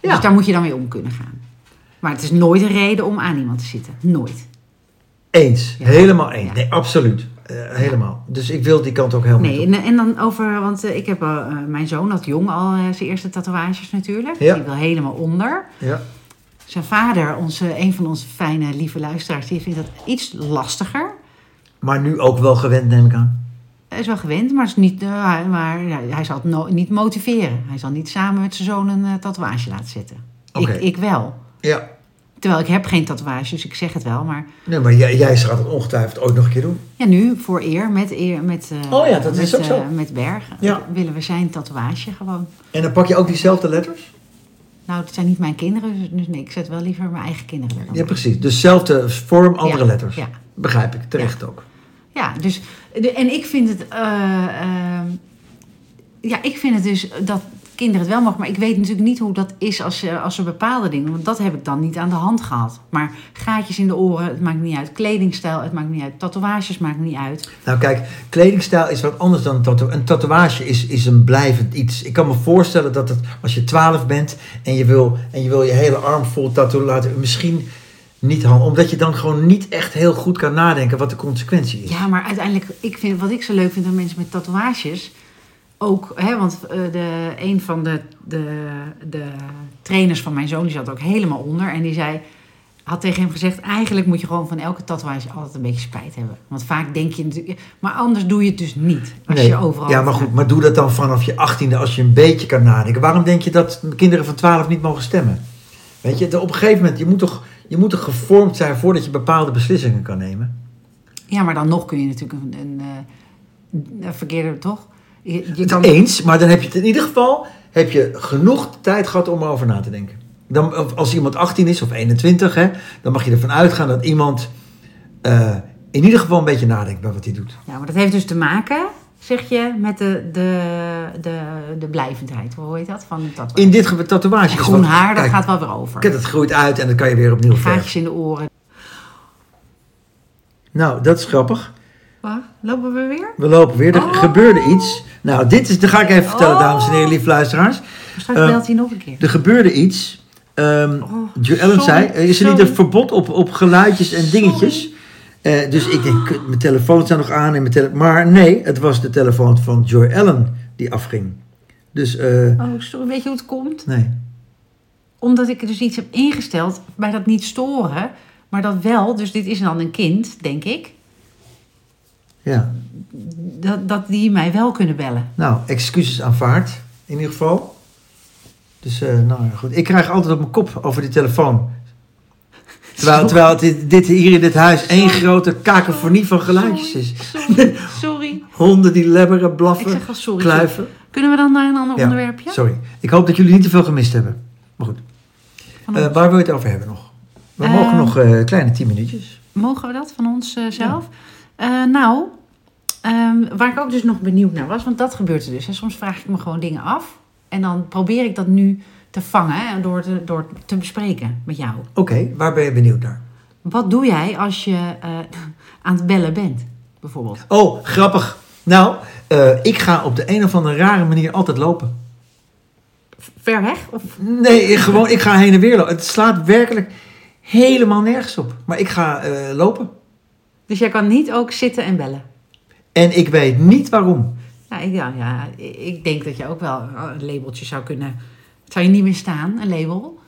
Speaker 1: Ja.
Speaker 2: Dus daar moet je dan mee om kunnen gaan. Maar het is nooit een reden om aan iemand te zitten. Nooit.
Speaker 1: Eens.
Speaker 2: Ja.
Speaker 1: Helemaal eens.
Speaker 2: Ja.
Speaker 1: Nee, absoluut. Eh, helemaal. Dus ik wil die kant ook helemaal
Speaker 2: Nee,
Speaker 1: niet
Speaker 2: en, en dan over, want eh, ik heb eh, eh, mijn zoon had jong al eh, zijn eerste tatoeages natuurlijk.
Speaker 1: Ja.
Speaker 2: Die wil helemaal onder.
Speaker 1: op. Ja.
Speaker 2: Zijn vader, onze, een van onze fijne, lieve luisteraars, die vindt dat iets lastiger.
Speaker 1: Maar nu ook wel gewend, neem ik aan.
Speaker 2: Hij is wel gewend, maar, is niet, eh, hij- maar ja, hij zal het no- niet motiveren. Hij zal niet samen met zijn zoon een eh, tatoeage laten zetten.
Speaker 1: Oké.
Speaker 2: Ik, ik wel.
Speaker 1: Ja.
Speaker 2: Terwijl ik heb geen tatoeages, dus ik zeg het wel. Maar
Speaker 1: Nee, maar jij, jij gaat het ongetwijfeld ooit nog een keer doen.
Speaker 2: ja, nu voor eer met, eer, met, eh,
Speaker 1: Oh ja, dat
Speaker 2: met,
Speaker 1: is ook
Speaker 2: eh,
Speaker 1: zo.
Speaker 2: met Berg
Speaker 1: Ja.
Speaker 2: willen we zijn tatoeage gewoon.
Speaker 1: En dan pak je ook diezelfde letters?
Speaker 2: Nou, het zijn niet mijn kinderen, dus nee, ik zet wel liever mijn eigen kinderen. erop.
Speaker 1: Ja, precies. Dezelfde vorm, andere
Speaker 2: Ja,
Speaker 1: letters.
Speaker 2: ja.
Speaker 1: Begrijp ik. Terecht ook.
Speaker 2: Ja, dus, de- en ik vind het, eh, ehm, ja, ik vind het dus dat kinderen het wel mogen, maar ik weet natuurlijk niet hoe dat is als ze, als ze bepaalde dingen, want dat heb ik dan niet aan de hand gehad. Maar gaatjes in de oren, het maakt niet uit, kledingstijl, het maakt niet uit, tatoeages maakt niet uit.
Speaker 1: Nou kijk, kledingstijl is wat anders dan een tatoeage. Een tatoeage is, is een blijvend iets. Ik kan me voorstellen dat het, als je 12 bent en je wil, en je, wil je hele arm vol tattoo laten, misschien niet handig. Omdat je dan gewoon niet echt heel goed kan nadenken wat de consequentie is.
Speaker 2: Ja, maar uiteindelijk, ik vind, wat ik zo leuk vind aan mensen met tatoeages, ook, hè, want eh, de, een van de, de, de trainers van mijn zoon, die zat ook helemaal onder. En die zei, had tegen hem gezegd, eigenlijk moet je gewoon van elke tatoeage altijd een beetje spijt hebben. Want vaak denk je natuurlijk, maar anders doe je het dus niet. Als
Speaker 1: Nee.
Speaker 2: je overal...
Speaker 1: ja, maar goed, maar doe dat dan vanaf je 18e als je een beetje kan nadenken. Waarom denk je dat kinderen van 12 niet mogen stemmen? Weet je, op een gegeven moment, je moet toch, je moet toch gevormd zijn voordat je bepaalde beslissingen kan nemen?
Speaker 2: Ja, maar dan nog kun je natuurlijk een, een, eh, een verkeerde, toch? Je, je kan...
Speaker 1: Eens, maar dan heb je het in ieder geval heb je genoeg tijd gehad om erover na te denken. Dan, of als iemand 18 is of 21, hè, dan mag je ervan uitgaan dat iemand eh, in ieder geval een beetje nadenkt bij wat hij doet.
Speaker 2: Ja, maar dat heeft dus te maken, zeg je, met de, de, de, de blijvendheid. Hoe heet dat? Van een tatoeage.
Speaker 1: In dit geval tatoeage.
Speaker 2: En
Speaker 1: is
Speaker 2: groen
Speaker 1: wat-
Speaker 2: haar, dat
Speaker 1: kijk,
Speaker 2: gaat wel weer over.
Speaker 1: kijk, dat groeit uit en dan kan je weer opnieuw verven.
Speaker 2: Gaatjes in de oren.
Speaker 1: Nou, dat is grappig.
Speaker 2: Wat? Lopen we weer?
Speaker 1: We lopen weer. Er
Speaker 2: Oh.
Speaker 1: gebeurde iets. Nou, dit is, dat ga ik even vertellen,
Speaker 2: Oh.
Speaker 1: dames en heren, lieve luisteraars.
Speaker 2: Straks
Speaker 1: Eh,
Speaker 2: belt hij nog een keer.
Speaker 1: Er gebeurde iets Ehm
Speaker 2: Oh,
Speaker 1: Jo Ellen zei,
Speaker 2: sorry,
Speaker 1: eh, is er niet
Speaker 2: sorry.
Speaker 1: een verbod op, op geluidjes en dingetjes? Eh, dus ik denk, kut, mijn telefoon staat nog aan. En mijn tele maar nee, het was de telefoon van Joy Ellen die afging. Dus eh,
Speaker 2: Oh, sorry. Weet je hoe het komt?
Speaker 1: nee.
Speaker 2: Omdat ik dus iets heb ingesteld bij dat niet storen. Maar dat wel, dus dit is dan een kind, denk ik.
Speaker 1: Ja.
Speaker 2: Dat, dat die mij wel kunnen bellen.
Speaker 1: Nou, excuses aanvaard in ieder geval. Dus eh, nou ja, goed. Ik krijg altijd op mijn kop over die telefoon. Terwijl, terwijl het dit, dit hier in dit huis één grote kakofonie van geluidjes is.
Speaker 2: Sorry, sorry.
Speaker 1: Honden die lebberen,
Speaker 2: Ik
Speaker 1: blaffen,
Speaker 2: zeg al sorry.
Speaker 1: kluiven.
Speaker 2: Kunnen we dan naar een ander
Speaker 1: Ja,
Speaker 2: onderwerpje?
Speaker 1: Sorry. Ik hoop dat jullie niet te veel gemist hebben. Maar goed.
Speaker 2: Van
Speaker 1: Eh,
Speaker 2: ons.
Speaker 1: waar wil je het over hebben nog? We
Speaker 2: Eh,
Speaker 1: mogen nog eh, kleine 10 minuutjes.
Speaker 2: Mogen we dat van ons eh, zelf? Eh, nou, ehm, waar ik ook dus nog benieuwd naar was, want dat gebeurt er dus. Hè. Soms vraag ik me gewoon dingen af. En dan probeer ik dat nu te vangen hè, door te, door te bespreken met jou.
Speaker 1: Oké, waar ben je benieuwd naar?
Speaker 2: Wat doe jij als je eh, aan het bellen bent, bijvoorbeeld?
Speaker 1: Oh, grappig. Nou, eh, ik ga op de een of andere rare manier altijd lopen.
Speaker 2: Ver weg? Of...
Speaker 1: Nee, ik- gewoon, ik ga heen en weer lopen. Het slaat werkelijk helemaal nergens op. Maar ik ga eh, lopen.
Speaker 2: Dus jij kan niet ook zitten en bellen?
Speaker 1: En ik weet niet waarom.
Speaker 2: Nou, ik, ja, ja, ik denk dat je ook wel eh, een labeltje zou kunnen... Het zou je niet meer staan, een label.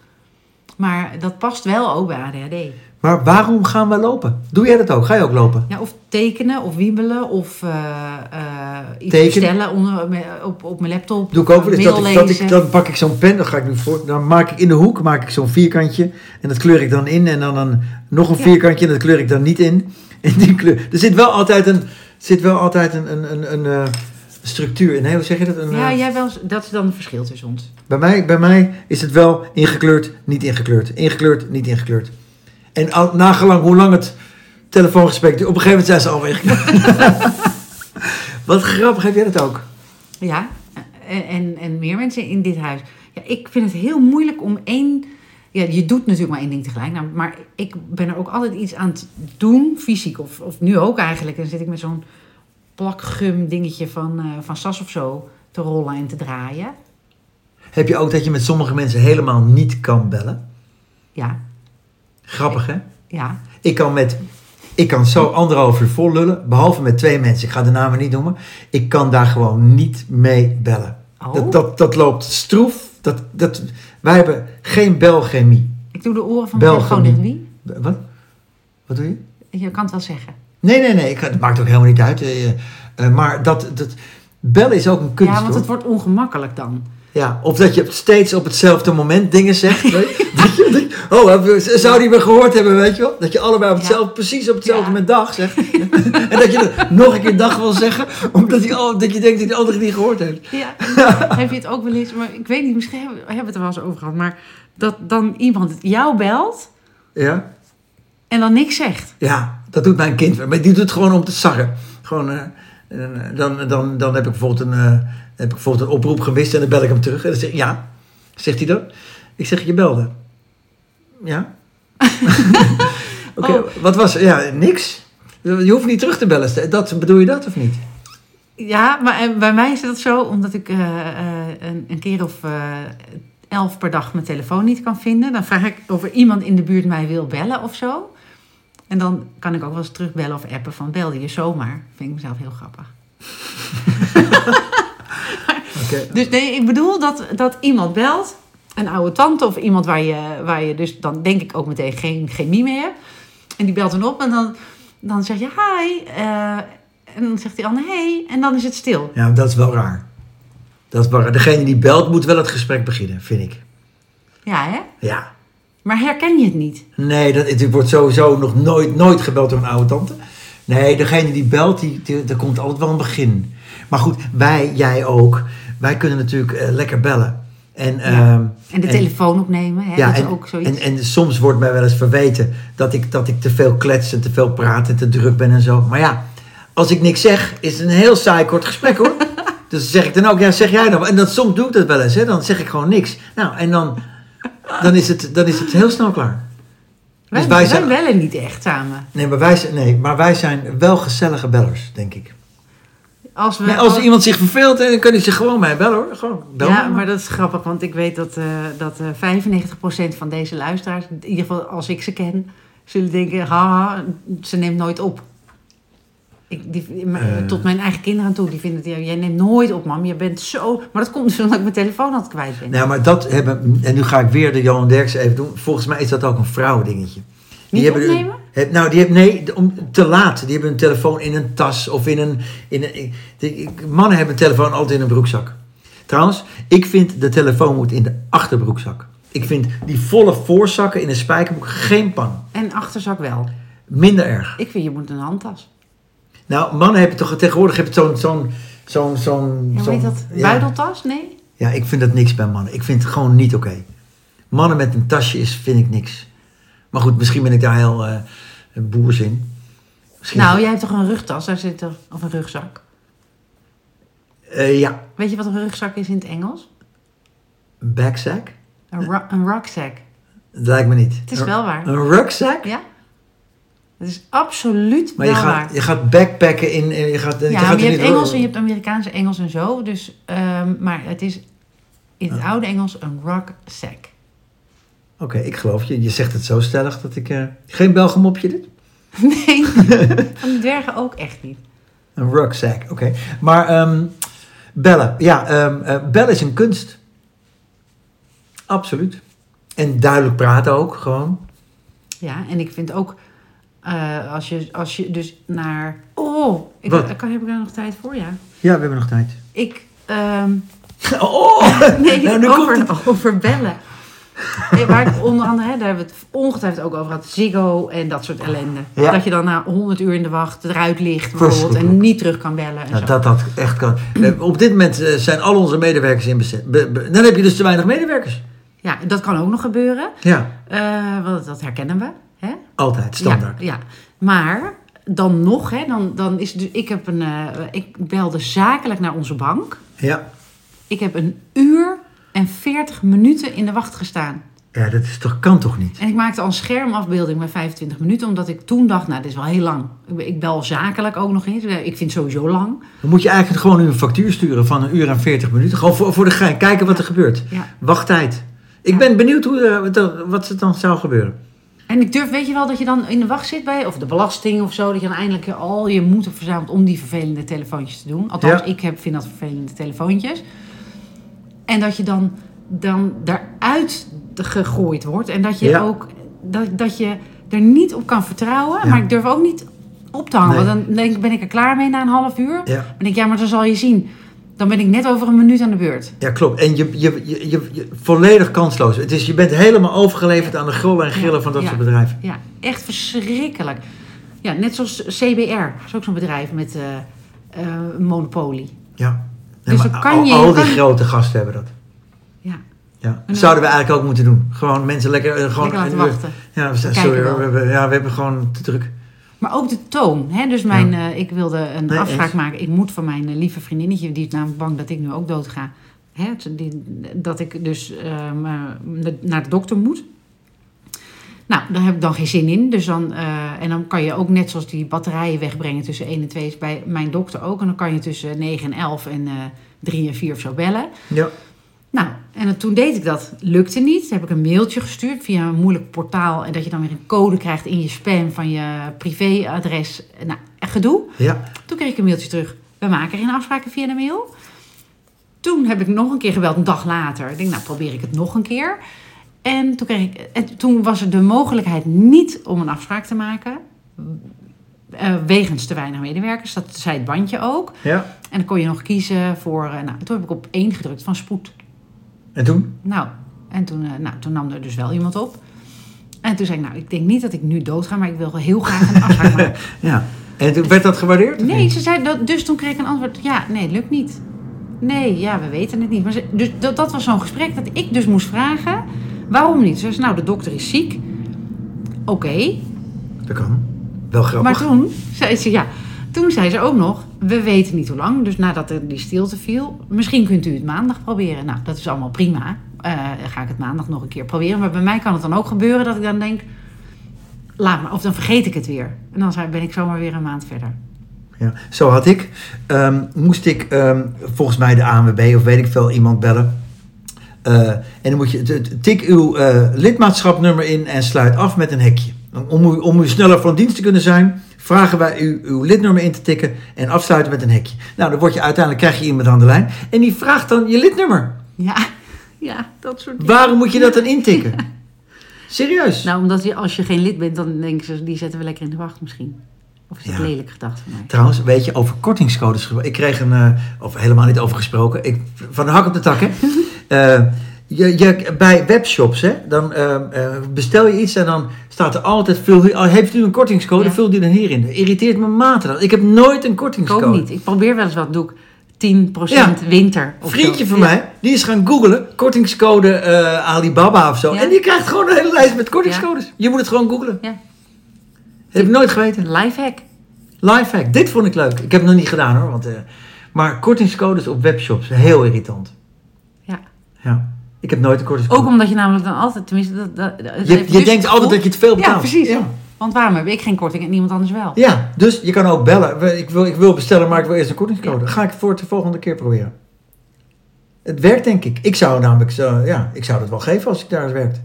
Speaker 2: Maar dat past wel ook bij ADHD.
Speaker 1: Maar waarom gaan we lopen? Doe jij dat ook? Ga je ook lopen?
Speaker 2: Ja, of tekenen, of wiebelen, of eh, eh, iets
Speaker 1: Tekenen.
Speaker 2: bestellen onder, me- op, op mijn laptop.
Speaker 1: Doe ik ook wel eens. Dat, ik- dat
Speaker 2: Mail
Speaker 1: ik, dan pak ik zo'n pen, dan ga ik nu voor. Dan maak ik in de hoek maak ik zo'n vierkantje. En dat kleur ik dan in. En dan een, nog een
Speaker 2: Ja.
Speaker 1: vierkantje. En dat kleur ik dan niet in. En die kleur. Er zit wel altijd een. Zit wel altijd een, een, een, een eh, structuur. Nee, hoe zeg je dat? Een,
Speaker 2: Ja,
Speaker 1: eh,
Speaker 2: jij wel, eens- dat is dan het verschil tussen ons.
Speaker 1: Bij, mij, bij mij is het wel ingekleurd, niet ingekleurd. Ingekleurd, niet ingekleurd. En al, nagelang hoe lang het telefoongesprek. Op een gegeven moment zijn ze alweer ingekleurd. Wat grappig, heb jij dat ook?
Speaker 2: Ja, en, en, en meer mensen in dit huis. Ja, ik vind het heel moeilijk om één... Ja, je doet natuurlijk maar één ding tegelijk. Nou, maar ik ben er ook altijd iets aan het doen, fysiek. Of, of nu ook eigenlijk. En dan zit ik met zo'n plakgum dingetje van, eh, van Sas of zo te rollen en te draaien.
Speaker 1: Heb je ook dat je met sommige mensen helemaal niet kan bellen?
Speaker 2: Ja,
Speaker 1: Grappig, hè?
Speaker 2: ja.
Speaker 1: Ik kan met... Ik kan zo anderhalf uur vol lullen, behalve met twee mensen. Ik ga de namen niet noemen. Ik kan daar gewoon niet mee bellen.
Speaker 2: Oh.
Speaker 1: Dat, dat, dat loopt stroef. Dat, dat, wij hebben geen belchemie.
Speaker 2: Ik doe de oren van
Speaker 1: Belgen.
Speaker 2: mijn telefoon in wie?
Speaker 1: B- Wat? Wat doe je?
Speaker 2: Je kan het wel zeggen.
Speaker 1: Nee, nee, nee. Ik, het maakt ook helemaal niet uit. Eh, eh, eh, maar dat, dat... Bellen is ook een kunst,
Speaker 2: ja, want
Speaker 1: hoor.
Speaker 2: het wordt ongemakkelijk dan.
Speaker 1: Ja, of dat je steeds op hetzelfde moment dingen zegt. weet je? Dat je- dat je- oh, heb je- zou die me gehoord hebben, weet je wel? Dat je allebei op hetzelfde, precies op hetzelfde
Speaker 2: Ja.
Speaker 1: moment dag zegt. en dat je het nog een keer dag wil zeggen, omdat die, al- dat je denkt dat die andere het niet gehoord heeft.
Speaker 2: Ja, heb je het ook wel eens, maar ik weet niet, misschien hebben hebben we het er wel eens over gehad, maar dat dan iemand jou belt
Speaker 1: Ja?
Speaker 2: en dan niks zegt.
Speaker 1: Ja, dat doet mijn kind. Maar die doet het gewoon om te sarren. Gewoon, eh, en, eh, dan, dan, dan heb ik bijvoorbeeld een, eh, heb ik bijvoorbeeld een oproep gemist en dan bel ik hem terug. En dan zeg ik, ja. Zegt hij dat? Ik zeg, je belde. Ja. Oké,
Speaker 2: Oh.
Speaker 1: wat was, ja, niks. Je hoeft niet terug te bellen. Dat, bedoel je dat of niet?
Speaker 2: Ja, maar eh, bij mij is dat zo, omdat ik eh, eh, een, een keer of eh, elf per dag mijn telefoon niet kan vinden. Dan vraag ik of er iemand in de buurt mij wil bellen of zo. En dan kan ik ook wel eens terugbellen of appen van bel je zomaar. Vind ik mezelf heel grappig.
Speaker 1: Oké.
Speaker 2: Dus nee, ik bedoel dat, dat iemand belt, een oude tante of iemand waar je, waar je dus dan denk ik ook meteen geen chemie mee hebt. En die belt dan op en dan, dan zeg je hi. eh, en dan zegt die ander hey. En dan is het stil.
Speaker 1: Ja, dat is wel raar. Dat is wel raar. Degene die belt moet wel het gesprek beginnen, vind ik.
Speaker 2: Ja, hè?
Speaker 1: Ja.
Speaker 2: Maar herken je het niet?
Speaker 1: Nee, dat, het wordt sowieso nog nooit, nooit gebeld door een oude tante. Nee, degene die belt, die, die, daar komt altijd wel een begin. Maar goed, wij, jij ook, wij kunnen natuurlijk eh, lekker bellen. En, ehm,
Speaker 2: En de telefoon opnemen, hè? dat is ook zoiets.
Speaker 1: en, en soms wordt mij wel eens verweten dat ik, dat ik te veel klets en te veel praat en te druk ben en zo. Maar ja, als ik niks zeg, is het een heel saai kort gesprek hoor. dus zeg ik dan ook, ja zeg jij dan. En dat, soms doe ik dat wel eens, hè. dan zeg ik gewoon niks. Nou, en dan, dan, is, het, dan is het heel snel klaar.
Speaker 2: wij,
Speaker 1: dus wij
Speaker 2: wij,
Speaker 1: zijn-
Speaker 2: bellen niet echt samen.
Speaker 1: Nee maar, wij zijn, nee, maar wij zijn wel gezellige bellers, denk ik.
Speaker 2: Als we,
Speaker 1: Nee, als iemand zich verveelt, eh, dan kunnen ze gewoon mij bellen hoor. Gewoon, bel
Speaker 2: ja,
Speaker 1: me maar.
Speaker 2: maar dat is grappig, want ik weet dat, eh, dat eh 95% van deze luisteraars, in ieder geval als ik ze ken, zullen denken, haha, ze neemt nooit op. Ik, die, m-
Speaker 1: Eh.
Speaker 2: tot mijn eigen kinderen aan toe, die vinden het, ja, jij neemt nooit op, mam, je bent zo... Maar dat komt dus omdat ik mijn telefoon altijd kwijt ben.
Speaker 1: Nou, maar dat hebben, en nu ga ik weer de Johan Derksen even doen. Volgens mij is dat ook een vrouwendingetje.
Speaker 2: Niet
Speaker 1: hebben,
Speaker 2: opnemen?
Speaker 1: Heb, nou, die hebben, nee, de- om, te laat. Die hebben hun telefoon in een tas of in een... In een ik- die- mannen hebben een telefoon altijd in een broekzak. Trouwens, ik vind de telefoon moet in de achterbroekzak. Ik vind die volle voorzakken in een spijkerbroek geen pan.
Speaker 2: En achterzak wel.
Speaker 1: Minder erg.
Speaker 2: Ik vind, je moet een handtas.
Speaker 1: Nou, mannen hebben toch tegenwoordig heb je zo'n... zo'n zo'n zo'n
Speaker 2: Ja, hoe heet
Speaker 1: zo'n-
Speaker 2: dat?
Speaker 1: ja.
Speaker 2: Buideltas? Nee?
Speaker 1: Ja, ik vind dat niks bij mannen. Ik vind het gewoon niet oké. Mannen met een tasje is, vind ik niks. Maar goed, misschien ben ik daar heel eh, boers in. Misschien
Speaker 2: Nou, jij hebt toch een rugtas, daar zit toch... Of een rugzak.
Speaker 1: Eh, ja,
Speaker 2: Weet je wat een rugzak is in het Engels?
Speaker 1: een backsack?
Speaker 2: Een, ru- een rucksack.
Speaker 1: Dat lijkt me niet.
Speaker 2: Het is wel waar.
Speaker 1: Eh. Een rucksack?
Speaker 2: Ja? Dat is absoluut
Speaker 1: Maar
Speaker 2: wel
Speaker 1: je gaat,
Speaker 2: waar.
Speaker 1: je gaat backpacken in... in- je gaat,
Speaker 2: ja,
Speaker 1: gaat
Speaker 2: maar
Speaker 1: er
Speaker 2: je hebt
Speaker 1: niet-
Speaker 2: Engels en je hebt Amerikaanse Engels en zo. Dus, ehm, maar het is in het oude Engels een rucksack.
Speaker 1: Oké, ik geloof je. Je zegt het zo stellig dat ik... eh, geen belgemopje dit?
Speaker 2: Nee, van de dwergen ook echt niet.
Speaker 1: Een rucksack, oké. Maar ehm, bellen. Ja, ehm, eh, bellen is een kunst. Absoluut. En duidelijk praten ook, gewoon.
Speaker 2: Ja, en ik vind ook, eh, als, je, als je dus naar... Oh, ik,
Speaker 1: Wat?
Speaker 2: kan, heb ik daar nog tijd voor? Ja.
Speaker 1: Ja, we hebben nog tijd.
Speaker 2: Ik, ehm,
Speaker 1: Oh!
Speaker 2: nee,
Speaker 1: Nou, nu
Speaker 2: over,
Speaker 1: komt
Speaker 2: over bellen. Nee, waar ik onder andere, hè, daar hebben we het ongetwijfeld ook over gehad, Ziggo en dat soort ellende.
Speaker 1: Ja.
Speaker 2: Dat je dan na 100 uur in de wacht eruit ligt bijvoorbeeld en
Speaker 1: Verschrikkelijk.
Speaker 2: niet terug kan bellen. En
Speaker 1: Nou,
Speaker 2: zo.
Speaker 1: dat dat echt kan. Eh, op dit moment eh, zijn al onze medewerkers in bezet. Be- be- dan heb je dus te weinig medewerkers.
Speaker 2: Ja, dat kan ook nog gebeuren.
Speaker 1: Ja,
Speaker 2: Eh, want dat herkennen we. Hè?
Speaker 1: altijd, standaard.
Speaker 2: Ja, ja. Maar dan nog, hè, dan, dan is het dus, ik, heb een, eh, ik belde zakelijk naar onze bank.
Speaker 1: Ja.
Speaker 2: Ik heb een uur en 40 minuten in de wacht gestaan.
Speaker 1: Ja, dat is toch, kan toch niet?
Speaker 2: En ik maakte al een schermafbeelding met 25 minuten, omdat ik toen dacht, nou, dit is wel heel lang. Ik- Ik bel zakelijk ook nog eens. Ik vind het sowieso lang.
Speaker 1: Dan moet je eigenlijk gewoon nu een factuur sturen van een uur en 40 minuten. Gewoon voor, voor de gein. Kijken wat er gebeurt.
Speaker 2: Ja.
Speaker 1: Wachttijd. Ik ben benieuwd hoe, eh, wat er- wat er dan zou gebeuren.
Speaker 2: En ik durf, weet je wel, dat je dan in de wacht zit bij, of de belasting of zo, dat je dan eindelijk al je moed hebt verzameld om die vervelende telefoontjes te doen. Althans,
Speaker 1: Ja.
Speaker 2: ik heb, vind dat vervelende telefoontjes. En dat je dan, dan daaruit gegooid wordt en dat je
Speaker 1: Ja.
Speaker 2: ook, dat, dat je er niet op kan vertrouwen,
Speaker 1: Ja.
Speaker 2: maar ik durf ook niet op te hangen.
Speaker 1: Nee.
Speaker 2: Want dan denk, ik, ben ik er klaar mee na een half uur.
Speaker 1: Ja.
Speaker 2: Dan denk ik, ja, maar dan zal je zien. Dan ben ik net over een minuut aan de beurt.
Speaker 1: Ja, klopt. En je, je, je, je, je- volledig kansloos. Het is, je bent helemaal overgeleverd aan de grollen en grillen
Speaker 2: Ja,
Speaker 1: van dat
Speaker 2: ja.
Speaker 1: soort bedrijven.
Speaker 2: Ja, echt verschrikkelijk. Ja, net zoals CBR. Dat is ook zo'n bedrijf met eh, eh, een monopolie.
Speaker 1: Ja.
Speaker 2: Dus dan kan
Speaker 1: al,
Speaker 2: je-
Speaker 1: al
Speaker 2: je
Speaker 1: die
Speaker 2: kan-
Speaker 1: grote gasten hebben dat.
Speaker 2: Ja,
Speaker 1: Ja.
Speaker 2: Ja.
Speaker 1: Zouden we eigenlijk ook moeten doen. Gewoon mensen lekker, eh, gewoon
Speaker 2: lekker laten
Speaker 1: een uur-
Speaker 2: wachten.
Speaker 1: Ja, we zijn,
Speaker 2: Kijken
Speaker 1: sorry,
Speaker 2: wel.
Speaker 1: hoor, we hebben, ja, we hebben gewoon te druk.
Speaker 2: Maar ook de toon. Hè? Dus mijn, eh, ik wilde een
Speaker 1: Nee,
Speaker 2: afspraak
Speaker 1: eens.
Speaker 2: maken. Ik moet van mijn eh, lieve vriendinnetje, die is namelijk bang dat ik nu ook doodga. Hè? t- die- dat ik dus ehm, eh, de- naar de dokter moet. Nou, daar heb ik dan geen zin in. Dus dan, eh, en dan kan je ook net zoals die batterijen wegbrengen tussen 1 en 2 is bij mijn dokter ook. En dan kan je tussen 9 en 11 en eh 3 en 4 of zo bellen.
Speaker 1: Ja.
Speaker 2: Nou, en dan- toen deed ik dat. Lukte niet. Toen heb ik een mailtje gestuurd via een moeilijk portaal. En dat je dan weer een code krijgt in je spam van je privéadres. Nou, echt gedoe.
Speaker 1: Ja.
Speaker 2: Toen kreeg ik een mailtje terug. We maken geen afspraken via de mail. Toen heb ik nog een keer gebeld, een dag later. Ik denk, nou probeer ik het nog een keer. En toen, kreeg ik, en toen was er de mogelijkheid niet om een afspraak te maken. eh, wegens te weinig medewerkers. Dat zei het bandje ook.
Speaker 1: ja.
Speaker 2: En dan kon je nog kiezen voor... eh, nou, toen heb ik op één gedrukt van spoed.
Speaker 1: En toen?
Speaker 2: Nou, en toen, eh, nou, toen nam er dus wel iemand op. En toen zei ik, nou, ik denk niet dat ik nu dood ga, maar ik wil wel heel graag een afspraak maken.
Speaker 1: Ja. En toen werd dat gewaardeerd? of
Speaker 2: Nee,
Speaker 1: niet?
Speaker 2: ze zei dat, dus toen kreeg ik een antwoord, ja, nee, lukt niet. Nee, ja, we weten het niet. Maar ze, dus dat, dat was zo'n gesprek dat ik dus moest vragen, waarom niet? Ze zei, nou, de dokter is ziek. Oké,
Speaker 1: Dat kan. Wel grappig.
Speaker 2: maar toen zei ze, ja, toen zei ze ook nog, we weten niet hoe lang. Dus nadat er die stilte viel, misschien kunt u het maandag proberen. Nou, dat is allemaal prima. Eh, ga ik het maandag nog een keer proberen. Maar bij mij kan het dan ook gebeuren dat ik dan denk, laat maar, of dan vergeet ik het weer. En dan zijn- ben ik zomaar weer een maand verder.
Speaker 1: ja. Zo had ik. ehm, moest ik ehm, volgens mij de ANWB of weet ik veel iemand bellen. Eh, en dan moet je, t- t- tik uw eh, lidmaatschapnummer in en sluit af met een hekje. Om u, om u sneller van dienst te kunnen zijn, vragen wij u uw lidnummer in te tikken en afsluiten met een hekje. Nou, dan word je uiteindelijk krijg je iemand aan de lijn en die vraagt dan je lidnummer.
Speaker 2: Ja, ja dat soort dingen.
Speaker 1: Waarom moet je dat dan intikken? Serieus?
Speaker 2: Nou, omdat je, als je geen lid bent, dan denken ze, die zetten we lekker in de wacht misschien. Of is dat
Speaker 1: Ja.
Speaker 2: lelijk gedacht van mij?
Speaker 1: Trouwens, weet je, over kortingscodes gesproken. Ik kreeg een, eh, of helemaal niet over gesproken, ik, van de hak op de tak, hè. Eh, je, je, bij webshops, hè, dan eh, eh, bestel je iets en dan staat er altijd, vul, hier- oh, heeft u een kortingscode,
Speaker 2: Ja.
Speaker 1: vul die dan hierin. Dat irriteert me matig. Ik heb nooit een
Speaker 2: Ik ook
Speaker 1: kortingscode.
Speaker 2: niet. Ik probeer wel eens wat, doe ik 10% winter.
Speaker 1: Een
Speaker 2: Of
Speaker 1: vriendje
Speaker 2: zo.
Speaker 1: van
Speaker 2: Ja.
Speaker 1: mij, die is gaan googlen, kortingscode eh, Alibaba of zo.
Speaker 2: Ja.
Speaker 1: En die krijgt gewoon een hele lijst met kortingscodes. Je moet het gewoon googlen.
Speaker 2: Ja.
Speaker 1: Heb ik nooit geweten.
Speaker 2: Een lifehack.
Speaker 1: Lifehack, dit vond ik leuk. Ik heb het nog niet gedaan hoor. Want, eh, maar kortingscodes op webshops, heel irritant.
Speaker 2: Ja.
Speaker 1: Ja. Ik heb nooit een kortingscode.
Speaker 2: Ook omdat je namelijk dan altijd, tenminste... Dat, dat, dat- dat
Speaker 1: je
Speaker 2: heeft
Speaker 1: je
Speaker 2: dus
Speaker 1: denkt
Speaker 2: het
Speaker 1: altijd dat je te veel
Speaker 2: gevoel-
Speaker 1: betaalt.
Speaker 2: Ja, precies.
Speaker 1: Ja.
Speaker 2: Want waarom heb ik geen korting en niemand anders wel?
Speaker 1: Ja, dus je kan ook bellen. We- Ik wil, ik wil bestellen, maar ik wil eerst een kortingscode. Ga ik voor de volgende keer proberen. Het werkt denk ik. Ik zou namelijk, zo, ja, ik zou dat wel geven als ik daar eens werkte.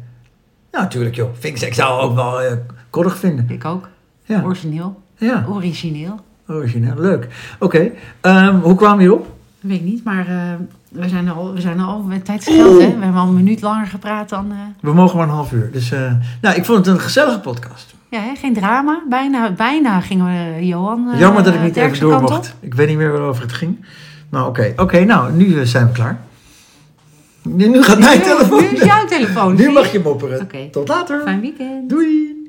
Speaker 1: Nou, natuurlijk joh. Vind ik, ik zou ook wel eh koddig vinden.
Speaker 2: Ik ook.
Speaker 1: Ja,
Speaker 2: Origineel.
Speaker 1: ja.
Speaker 2: Origineel.
Speaker 1: origineel. Leuk. Oké, ehm, hoe kwamen we hierop?
Speaker 2: Dat weet ik niet, maar eh, we zijn er al, we zijn er al met tijdsgeld. Hè? We hebben al een minuut langer gepraat dan... eh,
Speaker 1: We mogen maar een half uur. Dus, eh, nou, ik vond het een gezellige podcast.
Speaker 2: ja, hè? geen drama. Bijna, bijna gingen we eh, Johan... eh,
Speaker 1: Jammer dat ik niet
Speaker 2: Derksen
Speaker 1: even door
Speaker 2: kant op.
Speaker 1: mocht. Ik weet niet meer waarover het ging. Nou, oké. Oké, nou, nu eh, zijn we klaar. Nu, nu gaat mijn
Speaker 2: Nu-
Speaker 1: telefoon.
Speaker 2: Nu is jouw telefoon.
Speaker 1: Nu
Speaker 2: zie
Speaker 1: mag je mopperen.
Speaker 2: Oké.
Speaker 1: Tot later.
Speaker 2: Fijn weekend.
Speaker 1: Doei.